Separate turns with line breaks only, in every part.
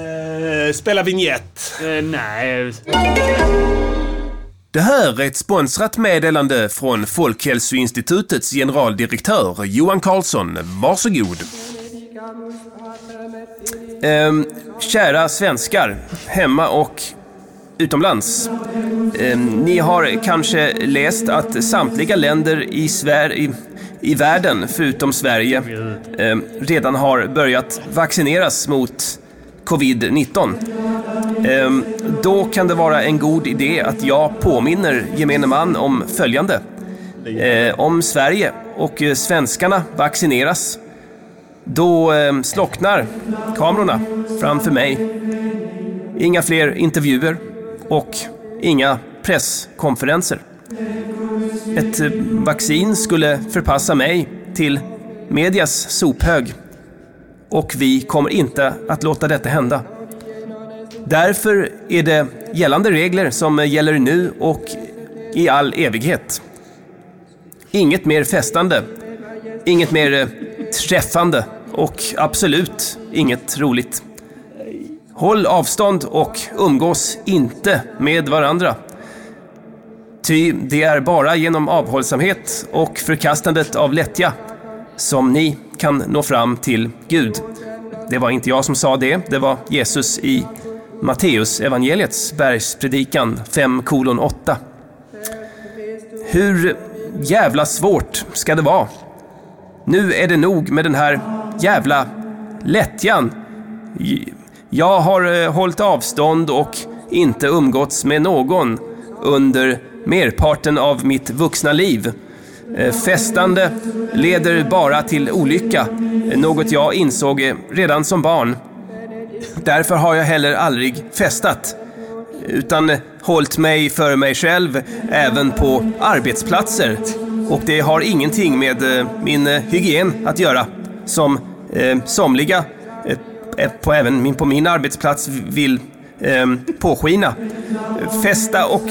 Eh, spela vignett.
Eh, nej.
Det här är ett sponsrat meddelande från Folkhälsoinstitutets generaldirektör Johan Carlsson. Varsågod. Ehm, kära svenskar, hemma och utomlands. Ehm, ni har kanske läst att samtliga länder i, Sver- i, i världen, förutom Sverige, ehm, redan har börjat vaccineras mot covid-19. Ehm, då kan det vara en god idé att jag påminner gemene man om följande. Eh, om Sverige och eh, svenskarna vaccineras, då eh, slocknar kamerorna framför mig. Inga fler intervjuer och inga presskonferenser. Ett eh, vaccin skulle förpassa mig till medias sophög och vi kommer inte att låta detta hända. Därför är det gällande regler som gäller nu och i all evighet. Inget mer festande, inget mer eh, träffande och absolut inget roligt. Håll avstånd och umgås inte med varandra. Ty det är bara genom avhållsamhet och förkastandet av lättja som ni kan nå fram till Gud. Det var inte jag som sa det, det var Jesus i Matteus evangeliets bergspredikan 5.8. Hur jävla svårt ska det vara? Nu är det nog med den här jävla lättjan. J- Jag har eh, hållit avstånd och inte umgåtts med någon under merparten av mitt vuxna liv. Eh, Festande leder bara till olycka, eh, något jag insåg eh, redan som barn. Därför har jag heller aldrig festat, utan eh, hållit mig för mig själv även på arbetsplatser. Och det har ingenting med eh, min eh, hygien att göra, som eh, somliga eh, eh, på, även min, på min arbetsplats vill eh, påskina. Eh, Festa och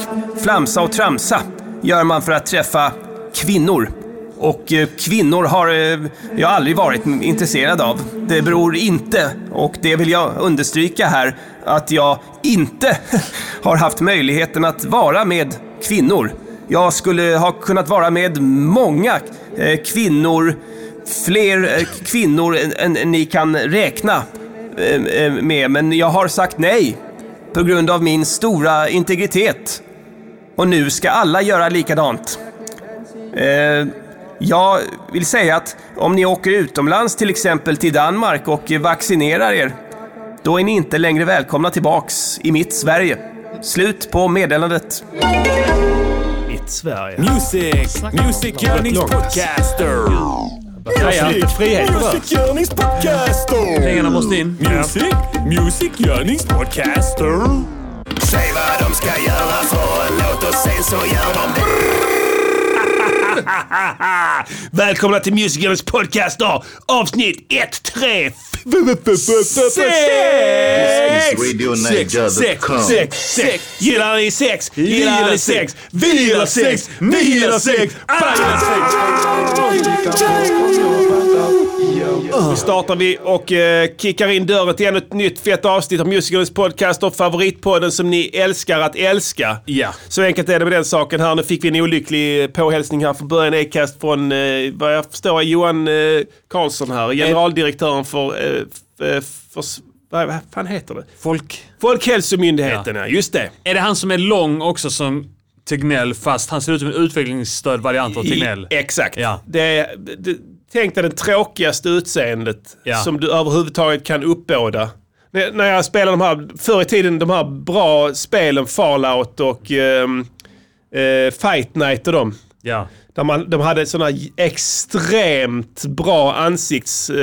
flamsa och tramsa gör man för att träffa kvinnor. Och eh, kvinnor har eh, jag aldrig varit m- intresserad av. Det beror inte, och det vill jag understryka här, att jag inte har haft möjligheten att vara med kvinnor. Jag skulle ha kunnat vara med många eh, kvinnor, fler eh, kvinnor än, än, än ni kan räkna eh, eh, med, men jag har sagt nej på grund av min stora integritet. Och nu ska alla göra likadant. Eh, jag vill säga att om ni åker utomlands, till exempel till Danmark och vaccinerar er, då är ni inte längre välkomna tillbaks i mitt Sverige. Slut på meddelandet.
Mitt Sverige.
Music, Music Yearnings Podcaster.
Ja, ja.
Frihet
Music Yearnings Podcaster.
Pengarna måste in.
Music, Music Yearnings Podcaster. Säg vad de ska göra för en låt och sen så gör de det.
Välkomna till Musikernas podcast då, avsnitt 1, 3,
This is RadioNiger.com.
sex, sex. Gillar ni sex? Gillar ni sex? Vi gillar sex! Ni gillar sex! Alla gillar sex! Nu startar vi och eh, kickar in dörren till ännu ett nytt fett avsnitt av Musikernas podcast och favoritpodden som ni älskar att älska.
Ja.
Så enkelt är det med den saken här. Nu fick vi en olycklig påhälsning här från början Ekast från, eh, vad jag förstår, är Johan eh, Karlsson här. Generaldirektören för, eh, f- eh, för s- vad, vad fan heter det?
Folk.
Folkhälsomyndigheten, ja. Just det.
Är det han som är lång också som Tegnell fast han ser ut som en utvecklingsstörd variant av Tegnell?
I, exakt.
Ja.
Det, det, tänk dig det tråkigaste utseendet
Ja.
som du överhuvudtaget kan uppbåda. När, när jag spelade de här, förr i tiden, de här bra spelen Fallout och ehm, eh, Fight Night och dem.
Ja.
Där man, de hade sådana extremt bra ansikts... Eh,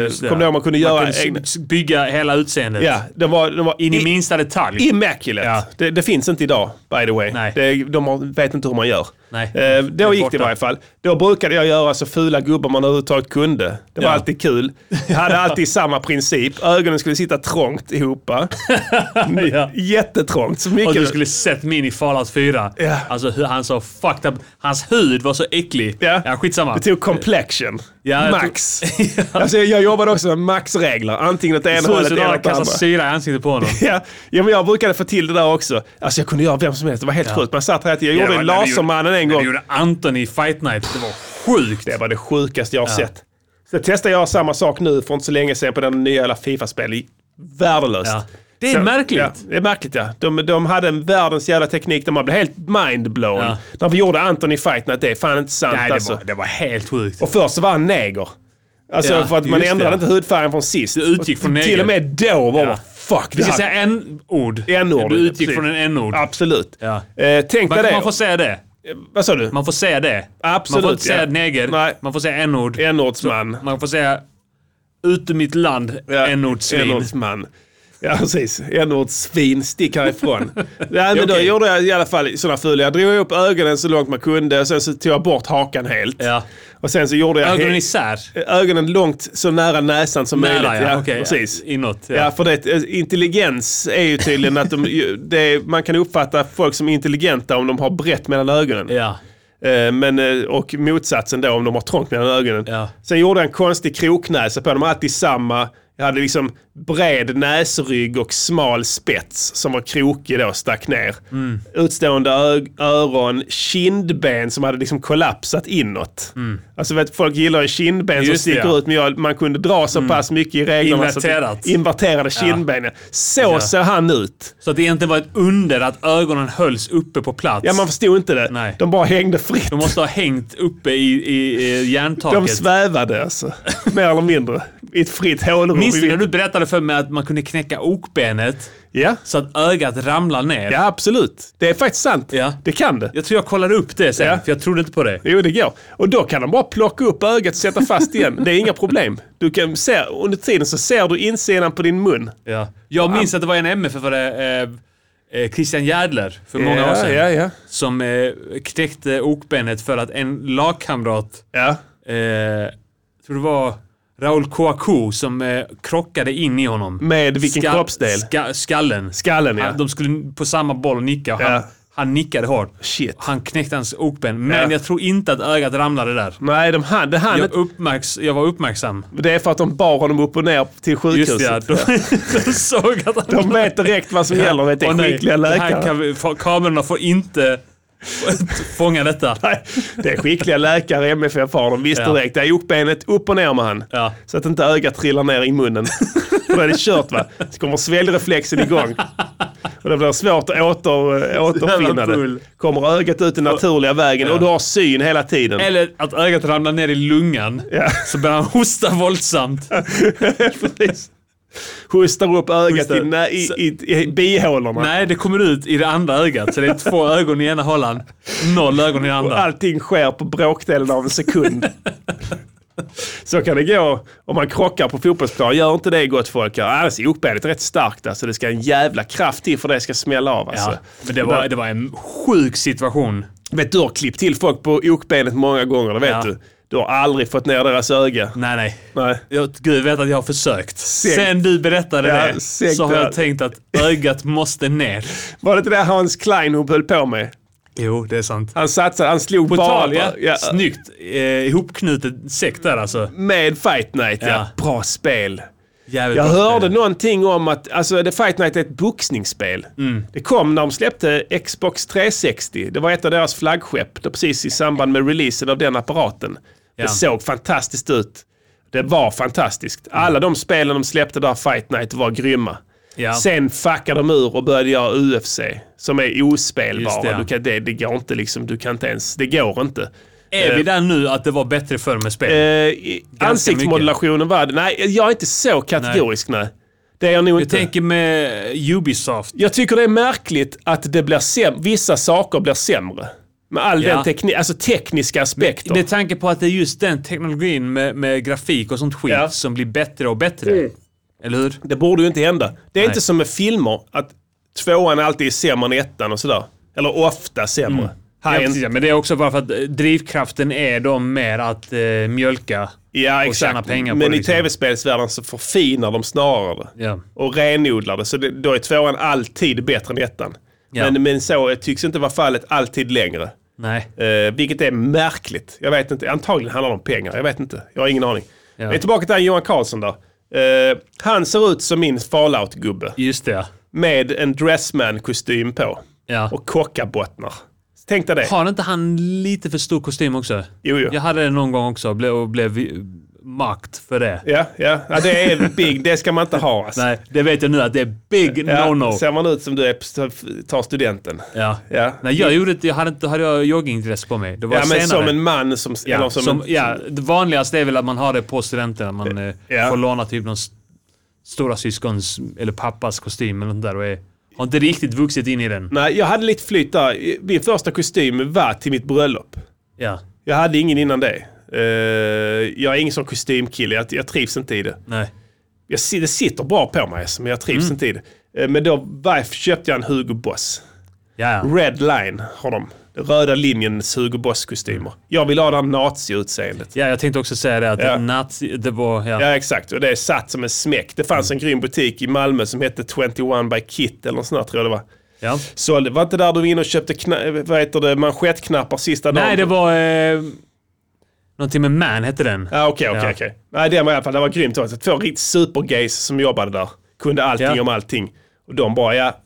Just det.
Kommer du ihåg man kunde göra?
Man kunde
egna-
s- bygga hela utseendet.
ja, de var, de var
In i
i-
minsta detalj.
Immaculate.
Ja.
Det, det finns inte idag, by the way.
Nej.
Det, de har, vet inte hur man gör.
Nej.
Eh,
Det är
då gick det i
borta.
varje fall. Då brukade jag göra så fula gubbar man överhuvudtaget kunde. Det var
Ja.
alltid kul. Jag hade alltid samma princip. Ögonen skulle sitta trångt ihop.
ja.
Jättetrångt. Så
Och
mycket...
du skulle sett min i Fallout 4.
Ja.
Alltså hur han så fucked up. Hans hud var så äcklig.
Ja.
ja skitsamma.
Det tog complexion.
Ja, jag tror-
Max. Alltså, jag jobbade också med maxregler. Antingen åt det ena
Såg ut
hållet
som
eller
några
åt det
kastade
andra.
syra i ansiktet på honom.
Ja, ja, men jag brukade få till det där också. Alltså jag kunde göra vem som helst. Det var helt sjukt. Man satt här till, jag gjorde
det var- när vi
Lasermannen en
Det
gång.
gjorde Anton i Fight Night. Det var sjukt.
Det var det sjukaste jag har sett. Så testade jag samma sak nu för inte så länge sedan på den nya jävla Fifa-spel. Värdelöst.
Ja. Det är
så,
märkligt.
Ja, det är märkligt ja. De, de hade en världens jävla teknik där man blev helt mindblown.
Ja.
När vi gjorde Anton i Fight Night, det är fan inte sant
Nej, det
alltså.
var, det var helt sjukt.
Och först så var han neger. Alltså
Ja,
för att man
just
ändrade
det.
inte hudfärgen från sist. Det
utgick från neger.
Till och med då var man fuck.
Vi
Det
ska
här,
säga en ord.
N-ord,
Du utgick
precis.
från en n-ord.
absolut.
Ja.
Eh, tänk dig
Man,
det.
man får säga det.
Vad sa du?
Man får säga det. man
Absolut,
får inte säga
ja.
neger.
Nej.
Man får säga n-ord.
Enordsman.
Man får säga ut ur mitt land,
Ja,
n-ordsvin.
Enordsman. Ja, precis. Enordsvin. Stick härifrån. Nej, men då
okej.
gjorde jag i alla fall sådana fula. Jag drog upp ögonen så långt man kunde och sen så tog jag bort hakan helt.
Ja.
Och sen så gjorde jag
Ögonen
he-
isär.
ögonen långt så nära näsan som
Nära
möjligt.
ja, okej.
precis.
Inåt.
Ja, för det, intelligens är ju tydligen att de, ju- det, man kan uppfatta folk som intelligenta om de har brett mellan ögonen.
Ja.
Eh, Men, eh, och motsatsen då om de har trångt mellan ögonen.
Ja.
Sen gjorde jag en konstig kroknäsa på dem, alltid samma. Jag hade liksom bred näsrygg och smal spets som var krokig då, stack ner.
Mm.
Utstående ö- öron, kindben som hade liksom kollapsat inåt. Alltså vet, folk gillar ju kindben som
Mm. Just det,
sticker
ja. Mm.
ut men jag, man kunde dra så pass mycket i reglerna. så att-
Inverterat.
Inverterade kindben. ja. Så ser han ut.
Så att det egentligen var ett under att ögonen hölls uppe på plats.
Ja, man förstod inte det.
Nej.
De bara hängde fritt.
De måste ha hängt uppe i, i, i
De
järntaket.
svävade alltså, mer eller mindre. I ett fritt hålrum.
Minns du när
I-
du berättade för mig att man kunde knäcka okbenet
Ja.
så att ögat ramlar ner?
ja, absolut. Det är faktiskt sant.
Ja.
Det kan det.
Jag tror jag kollade upp det sen,
Ja.
för jag trodde inte på det.
Jo, det går. Och då kan de bara plocka upp ögat och sätta fast igen. Det är inga problem. Du kan se, under tiden så ser du insidan på din mun.
Ja. Jag minns att det var en MF-are, eh, eh, Christian Järdler, för många år sedan.
Ja, ja.
Som eh, knäckte okbenet för att en lagkamrat,
Ja,
eh, tror det var Raoul Kouakou, som eh, krockade in i honom.
Med vilken
Ska-
kroppsdel?
Ska, skallen.
Skallen, ja.
Han, de skulle på samma boll nicka och han,
Ja.
han nickade hårt.
Shit.
Han knäckte hans okben, men
Ja.
jag tror inte att ögat ramlade där.
Nej, de hann, det, hann
Jag,
inte.
uppmärks, jag var uppmärksam.
det är för att de bar honom upp och ner till
Just
sjukhuset.
det, ja. de, de såg att han...
De vet direkt vad som gäller. Det är
Åh, nej.
skickliga
Det här
läkare.
kan vi, fa- kamerorna får inte fånga detta.
Nej, det är skickliga läkare MFF har. De visste
Ja.
direkt. Det är jokbenet upp och ner med han.
Ja.
Så att inte ögat trillar ner i munnen. För då är det kört va. Så kommer sväljreflexen igång. Och det blir svårt att åter, eh, återfinna det.
pull.
Kommer ögat ut den naturliga vägen och du har syn hela tiden.
Eller att ögat ramlar ner i lungan.
Ja.
Så börjar han hosta våldsamt.
Precis. Hostar upp ögat i,
Hostar.
nä- i, i, i bihålorna.
Nej, det kommer ut i det andra ögat. Så det är två ögon i ena hålan, noll ögon i det andra.
Allting sker på bråkdelen av en sekund. Så kan det gå om man krockar på fotbollsplan. Gör inte det gott folk. Annars är okbenet rätt starkt. Alltså. Det ska en jävla kraft till för det ska smälla av. Alltså.
Ja, men det var, det var en sjuk situation.
Vet du, du har klippt till folk på okbenet många gånger, det vet
Ja.
du. Du har aldrig fått ner deras öga.
Nej, nej.
Nej.
Jag, Gud vet att jag har försökt. Sen du berättade
Ja,
det
segt
så har
där.
jag tänkt att ögat måste ner.
Var det inte det Hans Kleinhub höll på med?
Jo, det är sant.
Han satsade, han slog
På
bara
tal, ja.
ja,
Snyggt eh, ihopknutet säck där alltså.
med Fight Night. Ja.
Ja.
Bra spel.
Jävligt
Jag
bra
hörde
spel.
någonting om att alltså, The Fight Night är ett boxningsspel.
Mm.
Det kom när de släppte Xbox 360. Det var ett av deras flaggskepp. Det var precis i samband med releasen av den apparaten.
Ja.
Det såg fantastiskt ut. Det var fantastiskt. Alla de spelen de släppte där Fight Night var grymma.
Ja.
Sen fuckade de ur och började göra UFC som är ospelbara.
Just det, ja.
du kan, det, det går inte liksom, du kan inte ens, det går inte.
Är vi där nu att det var bättre förr med spel?
Eh, i-
Ganska
ansiktsmodulationen var det. Nej, jag är inte så kategorisk nej. Det är jag nog
jag
inte.
tänker med Ubisoft.
Jag tycker det är märkligt att det blir säm- vissa saker blir sämre. Med all
Ja.
den teknik, alltså tekniska aspekter.
Med tanke på att det är just den teknologin med, med grafik och sånt skit
Ja.
som blir bättre och bättre. Eller hur?
det borde ju inte hända. Det är
Nej.
inte som med filmer, att tvåan alltid är sämre än ettan och sådär. Eller ofta sämre.
Mm. Ja,
Här är en-
precis, ja, men det är också bara för att eh, drivkraften är då mer att eh, mjölka.
ja,
tjäna
exakt.
pengar på
Men
det,
i
liksom.
tv-spelsvärlden så förfinar de snarare det.
Ja.
Och renodlar det. Så det, då är tvåan alltid bättre än ettan.
Ja.
Men, men så tycks inte vara fallet alltid längre.
Nej.
Eh, vilket är märkligt. Jag vet inte. Antagligen handlar det om pengar. Jag vet inte. Jag har ingen aning.
Ja.
Men tillbaka till han Johan Karlsson där. Eh, han ser ut som min Fallout-gubbe.
Just det.
Med en Dressman-kostym på.
Ja.
Och kockabottnar. Tänk dig det.
Har inte han lite för stor kostym också?
Jo, jo.
Jag hade det någon gång också och blev, och blev makt för det.
Ja, ja. ja, det är big. Det ska man inte ha alltså.
Nej, det vet jag nu att det är big
Ja,
no-no.
Ser man ut som du är, tar studenten.
Ja.
Ja.
Nej, jag gjorde inte, jag hade inte, hade jag joggingdress på mig. Det var
Ja, men
senare.
som en man som...
Ja,
eller
som,
som en,
ja, det vanligaste är väl att man har det på studenten. Att man eh,
ja.
får låna typ någon s- stora syskons eller pappas kostym eller något där och är, har inte riktigt vuxit in i den.
Nej, jag hade lite flyt där. Min första kostym var till mitt bröllop.
Ja,
Jag hade ingen innan det. Eh, jag är ingen sån kostymkille. Jag, jag trivs inte i det.
nej.
Jag, si- det sitter bra på mig, alltså, men jag trivs
Mm.
inte i det. Eh, men då var, köpte jag en Hugo Boss.
Ja, ja.
Red Line har de. Den röda linjens Hugo Boss-kostymer.
Mm.
Jag vill ha det här nazi-utseendet.
ja, jag tänkte också säga det att
Ja.
nazi, det var, ja. Mm.
Ja, exakt. Och det är satt som en smäck. Det fanns en grym butik i Malmö som hette 21 by Kit eller något sånt där, tror jag det var.
ja.
Så det var inte där du var inne och köpte kna- eh, vad heter det, manschettknappar sista dagen?
Nej, det var... Eh, någonting med man hette den.
Ja, okej, okej,
Mm. Ja.
okej. Nej, det var i alla fall, det var grymt också. Två riktigt supergays som jobbade där. Kunde allting
Ja.
om allting. Och de bara, ja,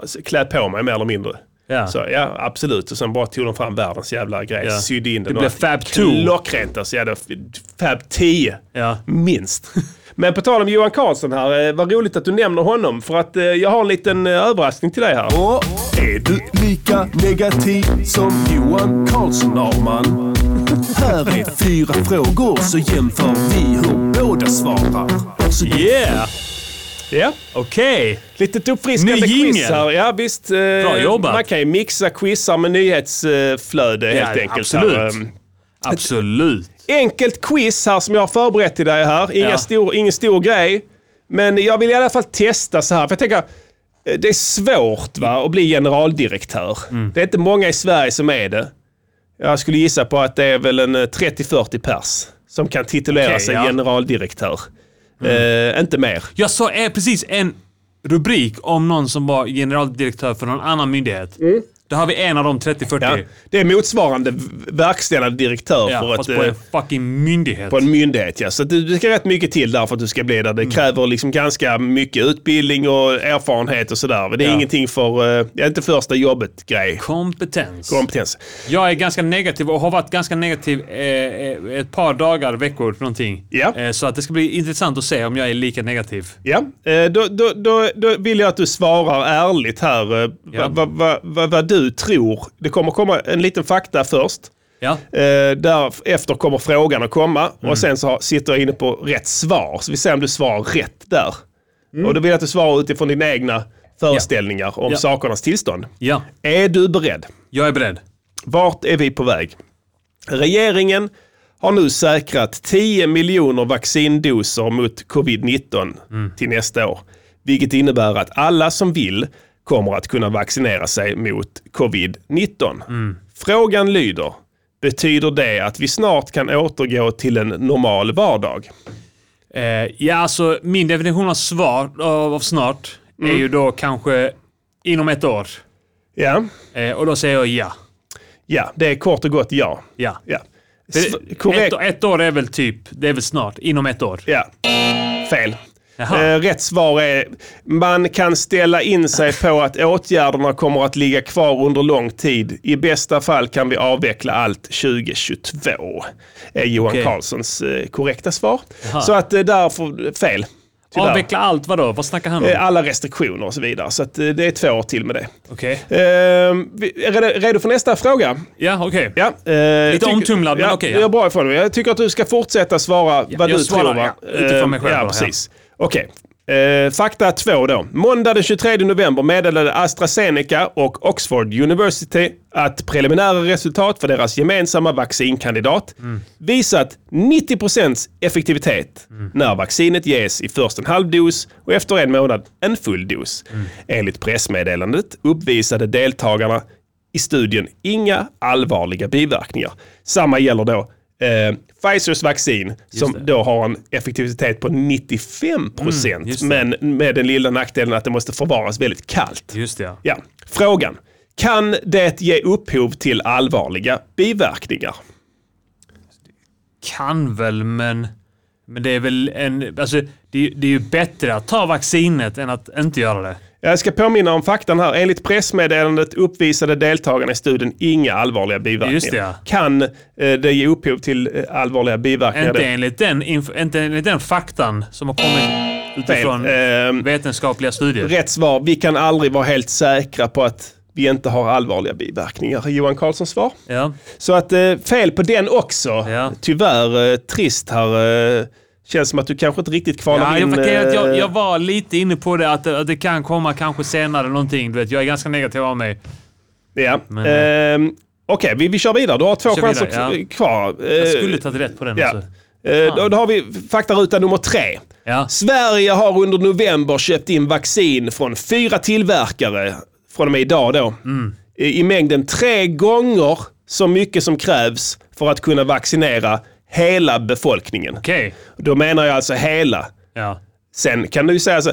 alltså, klä på mig mer eller mindre.
Ja.
Så ja, absolut. Och sen bara tog de fram världens jävla grej,
Ja.
sydde in den.
Det blev
och allting.
Fab Two.
Klockrent alltså. Ja, det var f- Fab 10.
Ja.
Minst. Men på tal om Johan Karlsson här, eh, vad roligt att du nämner honom. För att eh, jag har en liten eh, överraskning till dig här.
Och är du lika negativ som Johan Karlsson Arman? Här är fyra frågor så jämför vi hur båda svarar. Så
Yeah!
Ja.
Okej!
Litet uppfriskande
Ny jingle.
quiz här. Ja, visst. eh,
jobbat.
Man kan ju mixa quizar med nyhetsflöde
Ja,
helt enkelt.
absolut.
Här. Ehm,
Absolut.
Enkelt quiz här som jag har förberett till dig här. Inga
Ja.
stor, ingen stor grej. Men jag vill i alla fall testa så här. För jag tänker, eh, det är svårt va, att bli generaldirektör.
Mm.
Det är inte många i Sverige som är det. Jag skulle gissa på att det är väl en eh, 30-40 pers som kan titulera
Okej,
sig
ja. Mm.
generaldirektör. Eh, inte mer.
Jag såg eh, precis en rubrik om någon som var generaldirektör för någon annan myndighet. Där har vi en av de 30-40.
Ja, det är motsvarande v- verkställande direktör
Ja,
för
fast
att,
på en
eh,
fucking myndighet.
på en myndighet. Ja. Så det, det ska rätt mycket till där för att du ska bli där.
Mm.
Det kräver liksom ganska mycket utbildning och erfarenhet och sådär. Men Det är
Ja.
ingenting för, eh, det är inte första jobbet-grej.
Kompetens.
Kompetens.
jag är ganska negativ och har varit ganska negativ eh, eh, ett par dagar, veckor, någonting.
Ja.
Eh, så att det ska bli intressant att se om jag är lika negativ.
Ja, eh, då, då, då, då vill jag att du svarar ärligt här eh,
Ja.
vad vad- vad- vad du tror. Det kommer komma en liten fakta först.
Ja.
Eh, därefter kommer frågan att komma och sen så har- sitter jag inne på rätt svar. Så vi ser om du svarar rätt där. Och då vill jag att du svarar utifrån dina egna föreställningar om
Ja.
sakernas tillstånd.
Ja.
Är du beredd?
Jag är beredd.
Vart är vi på väg? Regeringen har nu säkrat 10 miljoner vaccindoser mot covid-19 till nästa år. Vilket innebär att alla som vill kommer att kunna vaccinera sig mot covid-19. Frågan lyder, betyder det att vi snart kan återgå till en normal vardag?
Eh, ja, alltså min definition av svar av, av snart är ju då kanske inom ett år.
Ja,
Eh, och då säger jag ja.
ja det är kort och gott ja.
Ja.
ja.
För
Sv- korrekt.
Ett, ett år är väl typ, det är väl snart, inom ett år.
Ja. Fel.
Jaha.
Eh, rätt svar är man kan ställa in sig på att åtgärderna kommer att ligga kvar under lång tid. I bästa fall kan vi avveckla allt 2022. Är Johan
Okej.
Carlssons eh, korrekta svar. Så att eh, därför fel. Tyvärr.
Avveckla allt vadå? Vad snackar han om?
Eh, Alla restriktioner och så vidare. Så att eh, det är två år till med det.
Okej.
Eh, vi- är du redo för nästa fråga?
Ja, okej.
Ja, eh,
Lite
tyck-
omtumlad, men
ja,
okej,
Ja.
ja.
Jag är bra ifrån dig. Jag tycker att du ska fortsätta svara vad
jag
du
svarar,
tror. Va?
ja. Utifrån mig själv
Eh, Ja,
då,
precis. Okej. Eh, fakta två då. Måndag den 23 november meddelade AstraZeneca och Oxford University att preliminära resultat för deras gemensamma vaccinkandidat
Mm.
visat 90% effektivitet
Mm.
när vaccinet ges i först en halv dos och efter en månad en full dos.
Mm.
Enligt pressmeddelandet uppvisade deltagarna i studien inga allvarliga biverkningar. Samma gäller då eh, Pfizers vaccin som då har en effektivitet på 95 procent.
Mm, just det.
men med den lilla nackdelen att det måste förvaras väldigt kallt.
Just det, ja.
Ja, frågan. Kan det ge upphov till allvarliga biverkningar?
Kan väl, men... Men det är väl en... Alltså, det, är- det är ju bättre att ta vaccinet än att inte göra det.
Jag ska påminna om faktan här. Enligt pressmeddelandet uppvisade deltagarna i studien inga allvarliga biverkningar.
Just det, ja.
Kan eh, det ge upphov till eh, allvarliga biverkningar?
Inte
Det-
enligt, den, inf- inte enligt den faktan som har kommit utifrån
Fel. Ehm,
vetenskapliga studier.
Rätt svar. Vi kan aldrig vara helt säkra på att vi inte har allvarliga biverkningar. Johan Karlssons svar.
Ja.
Så att eh, fel på den också.
Ja.
Tyvärr eh, trist här. Eh, känns som att du kanske inte riktigt kvalar
Ja,
in.
jag, jag, jag,
eh,
jag var lite inne på det, att, det- att det kan komma kanske senare någonting. Du vet, jag är ganska negativ av mig.
ja.
men- eh.
Ehm, Okej, vi, vi kör vidare. Du har två
Kör
chanser
vidare, ja.
k- kvar.
Jag
Eh,
skulle tagit rätt på den.
ja.
Alltså.
Eh, då, då har vi faktaruta nummer tre.
Ja.
Sverige har under november köpt in vaccin från fyra tillverkare, från och med idag då, i, i mängden tre gånger så mycket som krävs för att kunna vaccinera hela befolkningen.
Okej.
Då menar jag alltså hela.
Ja.
Sen kan du ju säga så,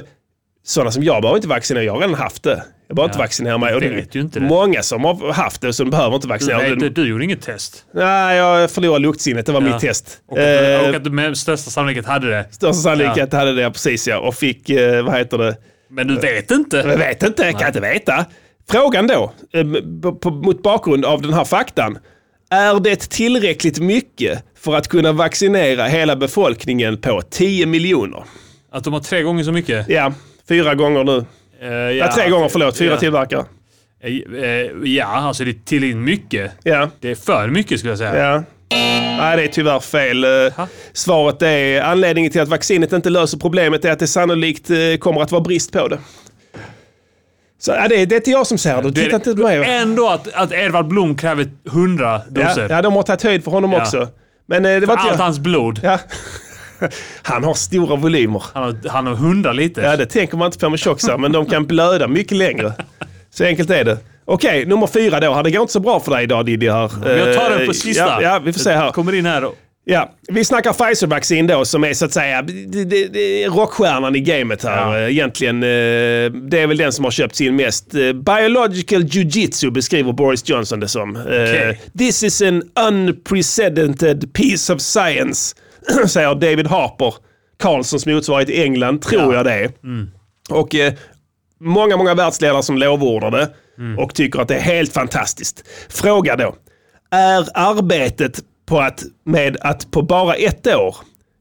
sådana som jag behöver inte vaccinera, jag har redan haft det. Jag behöver inte
Ja,
vaccinera mig. Och
du
det är
vet ju inte det.
Många som har haft det som behöver inte
Du,
vaccinera.
vet, du,
Det-
du gjorde inget test.
Nej, jag förlorade luktsinnet. Det var mitt test.
Och att, du-
Eh,
och att du med största sannolikhet hade det.
Största sannolikhet hade det, precis ja. Och fick, eh, vad heter det?
Men
Eh,
du vet
Jag
inte.
vet inte, jag kan inte veta. Frågan då, eh, b- på, mot bakgrund av den här faktan. Är det tillräckligt mycket för att kunna vaccinera hela befolkningen på 10 miljoner?
Att de har tre gånger så mycket.
Ja, fyra gånger nu.
Eh,
Ja,
ja.
tre gånger, förlåt. Fyra
ja.
tillverkare.
Eh, eh, ja, alltså det är tillräckligt mycket.
Ja,
Det är för mycket skulle jag säga.
ja. Nej, det är tyvärr fel. Eh,
Ha?
Svaret är anledningen till att vaccinet inte löser problemet är att det sannolikt eh, kommer att vara brist på det. Så ja, det, det är inte jag som säger det.
Det är-
Titta inte på mig.
Ändå att, att Edvard Blom kräver 100
Ja,
doser.
ja, de har tagit höjd för honom
Ja.
också. Men eh, det var inte
Allt
jag.
hans blod.
Ja. Han har stora volymer.
Han har, han har 100 liter.
Ja, det tänker man inte på med tjockisar, men de kan blöda mycket längre. Så enkelt är det. Okej, nummer fyra då. Det går inte så bra för dig idag Diddy här.
Jag tar
Eh,
den på sista.
Ja, ja vi får se här.
Kommer in här och...
Ja, vi snackar Pfizer-vaccin då som är så att säga det, det, det är rockstjärnan i gamet här eh, egentligen. eh, Det är väl den som har köpts in mest. Eh, Biological jujitsu beskriver Boris Johnson det som. Eh, This is an unprecedented piece of science, säger David Harper, Carlsons motsvarighet i England, tror jag det är. Och eh, många, många världsledare som lovordar det och tycker att det är helt fantastiskt. Fråga då. Är arbetet på att, med att på bara ett år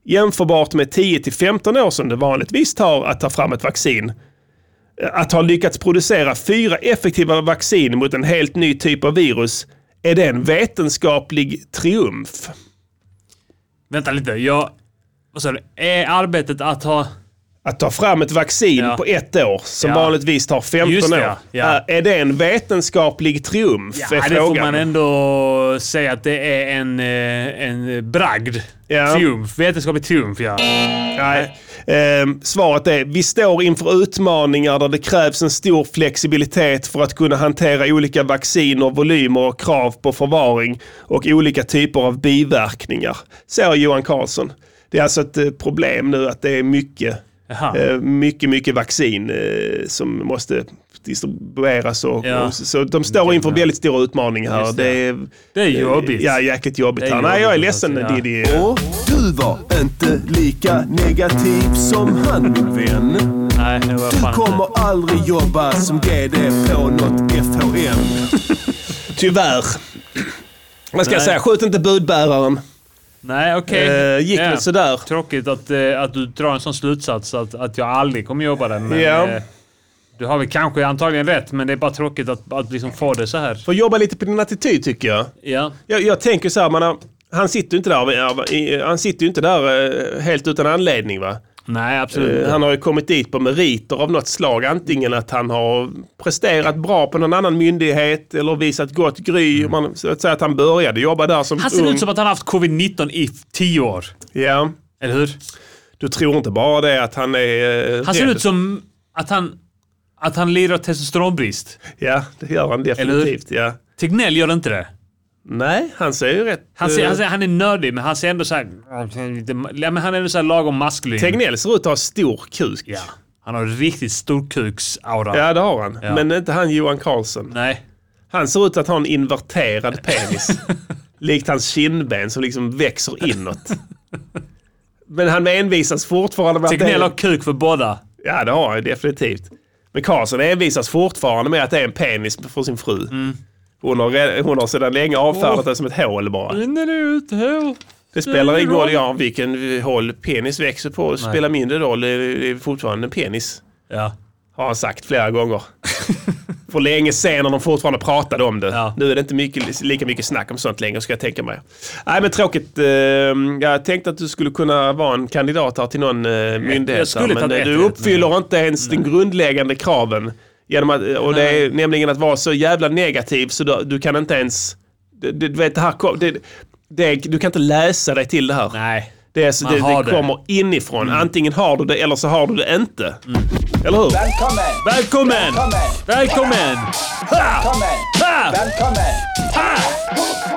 jämförbart med 10 till 15 år som det vanligtvis tar att ta fram ett vaccin eh, att ha lyckats producera fyra effektiva vaccin mot en helt ny typ av virus är det en vetenskaplig triumf?
Vänta lite. Jag... Vad sa du? Är arbetet att ha...
Att ta fram ett vaccin
Ja.
på ett år som
Ja.
vanligtvis tar 15
Just det,
år.
ja. Ja.
Är det en vetenskaplig triumf?
Ja,
är
det får
frågan.
man ändå säga att det är en, eh, en bragd.
Ja.
Triumf. Vetenskaplig triumf, ja.
Nej. Ehm, svaret är vi står inför utmaningar där det krävs en stor flexibilitet för att kunna hantera olika vacciner, volymer och krav på förvaring och olika typer av biverkningar. Säger Johan Carlsson. Det är alltså ett eh, problem nu att det är mycket,
Jaha.
eh, mycket, mycket vaccin eh, som måste distribueras. Och,
Ja.
och, så de står inför väldigt stora utmaningar här.
Just det.
Det är,
Det är jobbigt.
Ja, jäkligt jobbigt.
Det är
här. Nej, jag är
jobbigt,
ledsen
alltså, ja.
Diddy.
Och du var inte lika negativ som han min vän.
Nej, det var
Du
fan inte.
kommer aldrig jobba som GD på något FHM.
Tyvärr. Vad ska jag säga? Skjut inte budbäraren.
Nej, okej.
Eh, gick
Ja.
väl sådär.
Tråkigt att, eh, att du drar en sån slutsats att, att jag aldrig kommer jobba där. Men,
Ja.
eh, du har väl kanske antagligen rätt, men det är bara tråkigt att, att liksom få det så här.
Får jobba lite på din attityd tycker jag.
Ja.
Jag, jag tänker så här, man har, han sitter ju inte där, eh, han sitter ju inte där eh, helt utan anledning va?
Nej, absolut
Eh,
inte.
Han har ju kommit dit på meriter av något slag. Antingen att han har presterat bra på någon annan myndighet eller visat gott gry.
Mm.
Man, så att säga att han började jobba där som
Han ser
ung.
ut som att han har haft covid-19 i f- tio år.
Ja.
Eller hur?
Du tror inte bara det att han är... eh,
Han ser
rädd.
ut som att han, att han lider av testosteronbrist.
Ja, det gör han
Eller hur?
definitivt. Ja.
Tegnell gör inte det.
Nej, han ser ju rätt...
Han, ser,
eh,
han, ser, han är nördig, men han ser ändå så här... Ja, men han är ändå så här lagom maskulin.
Tegnell ser ut att ha stor kuk.
Ja. Han har riktigt storkuksaura.
Ja, det har han.
Ja.
Men inte han Johan Carlsson.
Nej.
Han ser ut att ha en inverterad penis. likt hans kindben som liksom växer inåt. Men han envisas fortfarande med
Tegnell har kuk för båda.
Ja, det har han ju definitivt. Men Karlsson envisas fortfarande med att det är en penis för sin fru. Hon, har, re- hon har sedan länge avfärdat det som ett hål bara.
Rinner det ut här?
Det spelar ingen roll ja, vilken eh, håll penis växer på. Det spelar mindre roll. Det är det är fortfarande en penis.
Ja.
Har han sagt flera gånger. För länge sen när de fortfarande pratade om det.
Ja.
Nu är det inte mycket, lika mycket snack om sånt längre ska jag tänka mig. Nej men tråkigt. Eh, Jag tänkte att du skulle kunna vara en kandidat här till någon eh, myndighet.
skulle
här,
tagit
Men eh,
ett
du
rätt, Mm.
uppfyller inte ens den grundläggande kraven. Genom att, eh, och det är nämligen att vara så jävla negativ så du, du kan inte ens... Du, du vet det här kom- det, det, du kan inte läsa dig till det här.
Nej.
Det, är så,
Man
det,
har
det
det. Mm.
kommer inifrån. Antingen har du det eller så har du det inte. Eller hur?
Välkommen! Välkommen! Ha!
Ah.
Ha!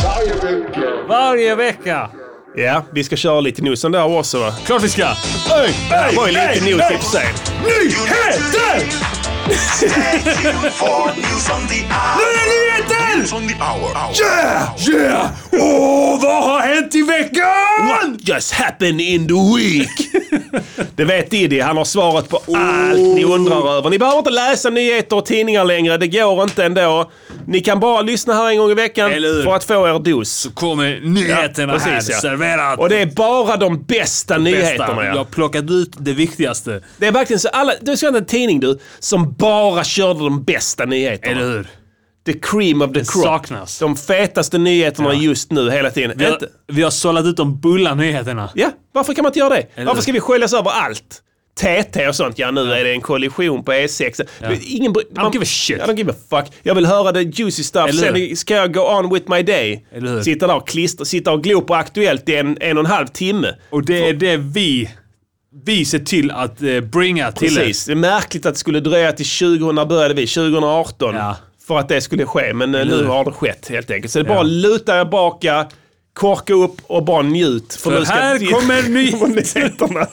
Ha! Varje vecka!
Ja, vi ska köra lite nosen där också va?
Klart vi ska!
Det var ju lite nos i och för sig.
For news on the hour. News on the hour. Yeah!
Yeah! Åh, vad har hänt i veckan? What just happened in the week? det vet Diddy. Han har svaret på
Oh.
allt ni undrar över. Ni behöver inte läsa nyheter och tidningar längre. Det går inte ändå. Ni kan bara lyssna här en gång i veckan
Eller hur?
för att få er dos.
Kommer nyheterna
Ja,
här.
precis, ja.
Serverat.
Och det är bara de bästa nyheterna.
Jag har
Ja.
plockat ut det viktigaste.
Det är verkligen så. Alla, du ska inte en tidning du, som bara körde de bästa nyheterna.
Eller hur?
The cream of the crop.
saknas.
De fetaste nyheterna just nu hela tiden.
Vi har,
Inte-
vi har sållat ut de bulla nyheterna.
Ja, varför kan man inte göra det?
Eller-
Varför ska vi sköljas över allt? TT och sånt. Ja, nu är det en kollision på E6. Men Ingen bry- man,
give a shit.
I don't give a fuck. Jag vill höra the juicy stuff.
Eller hur?
Sen ska jag go on with my day.
Eller hur?
Sitta där och klistra, sitta och glo på Aktuellt i en, en och en halv timme.
Och det är det vi, vi ser till att eh, bringa till er.
Precis. Det är märkligt att det skulle dröja till 2000, när började vi? 2018.
Ja.
För att det skulle ske, men eh, nu
hur?
har det skett helt enkelt. Så det är
Ja.
bara att luta er baka, korka upp och bara njut. För, nu
För
ska
här
vi-
kommer ny...
nyheterna.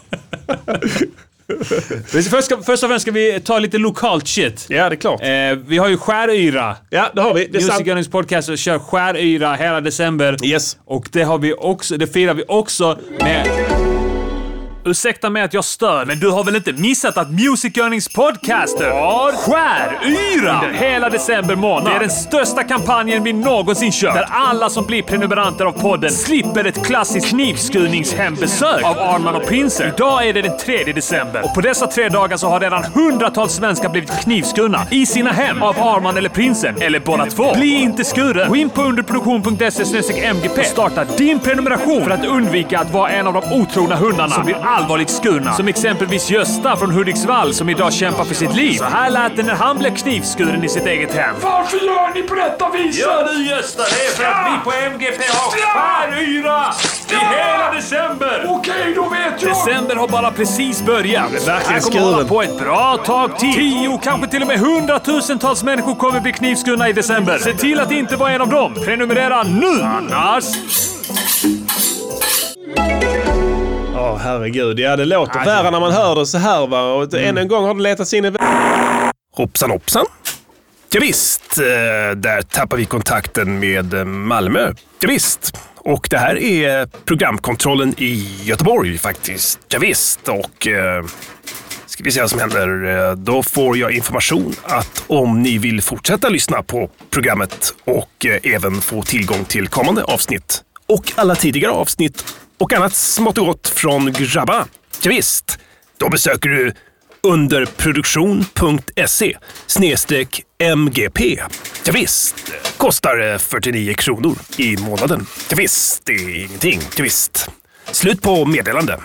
Först, ska- först och främst ska vi ta lite lokalt shit.
Ja, det är klart.
Eh, vi har ju Skäryra.
Ja, det har vi. Det är sant.
Music Earnings Podcast kör Skäryra hela december.
Yes.
Och det, har vi också, det firar vi också med... Ursäkta mig att jag stör, men du har väl inte missat att Music Earnings Podcaster har Skäryra under hela december månad. Det är den största kampanjen vi någonsin kört. Där alla som blir prenumeranter av podden slipper ett klassiskt knivskurningshembesök av Arman och Pinser. Idag är det den 3 december och på dessa tre dagar så har redan hundratals svenskar blivit knivskurna i sina hem av Arman eller Prinsen, eller båda två. Bli inte skuren! Gå in på underproduktion.se MGP och starta din prenumeration för att undvika att vara en av de otrogna hundarna som blir allvarligt skurna. Som exempelvis Gösta från Hudiksvall som idag kämpar för sitt liv. Så här lät det när han blev knivskuren i sitt eget hem. Varför gör ni på detta viset? Gör du Gösta, det är för att vi på MGP har skäryra i hela december! Okej, då vet jag! December har bara precis börjat.
verkligen
Här kommer hålla
skuren.
på ett bra tag till. Tio, kanske till och med hundratusentals människor kommer bli knivskurna i december. Se till att inte vara en av dem. Prenumerera nu! Annars...
Ja, herregud. Ja, det låter värre när man hör det så här va. Och än en gång har det letat sig in i...
Mm. Hoppsan hoppsan. Ja, visst, eh, där tappar vi kontakten med eh, Malmö. Ja, visst. Och det här är programkontrollen i Göteborg faktiskt. Ja, visst. och eh, ska vi se vad som händer. Eh, Då får jag information att om ni vill fortsätta lyssna på programmet och eh, även få tillgång till kommande avsnitt och alla tidigare avsnitt och annat smått och gott från grabba. Ja, visst. då besöker du underproduktion.se snedstreck MGP. Ja, visst. kostar eh, 49 kronor i månaden. Ja, visst. det är ingenting. Ja, visst. Slut på meddelande.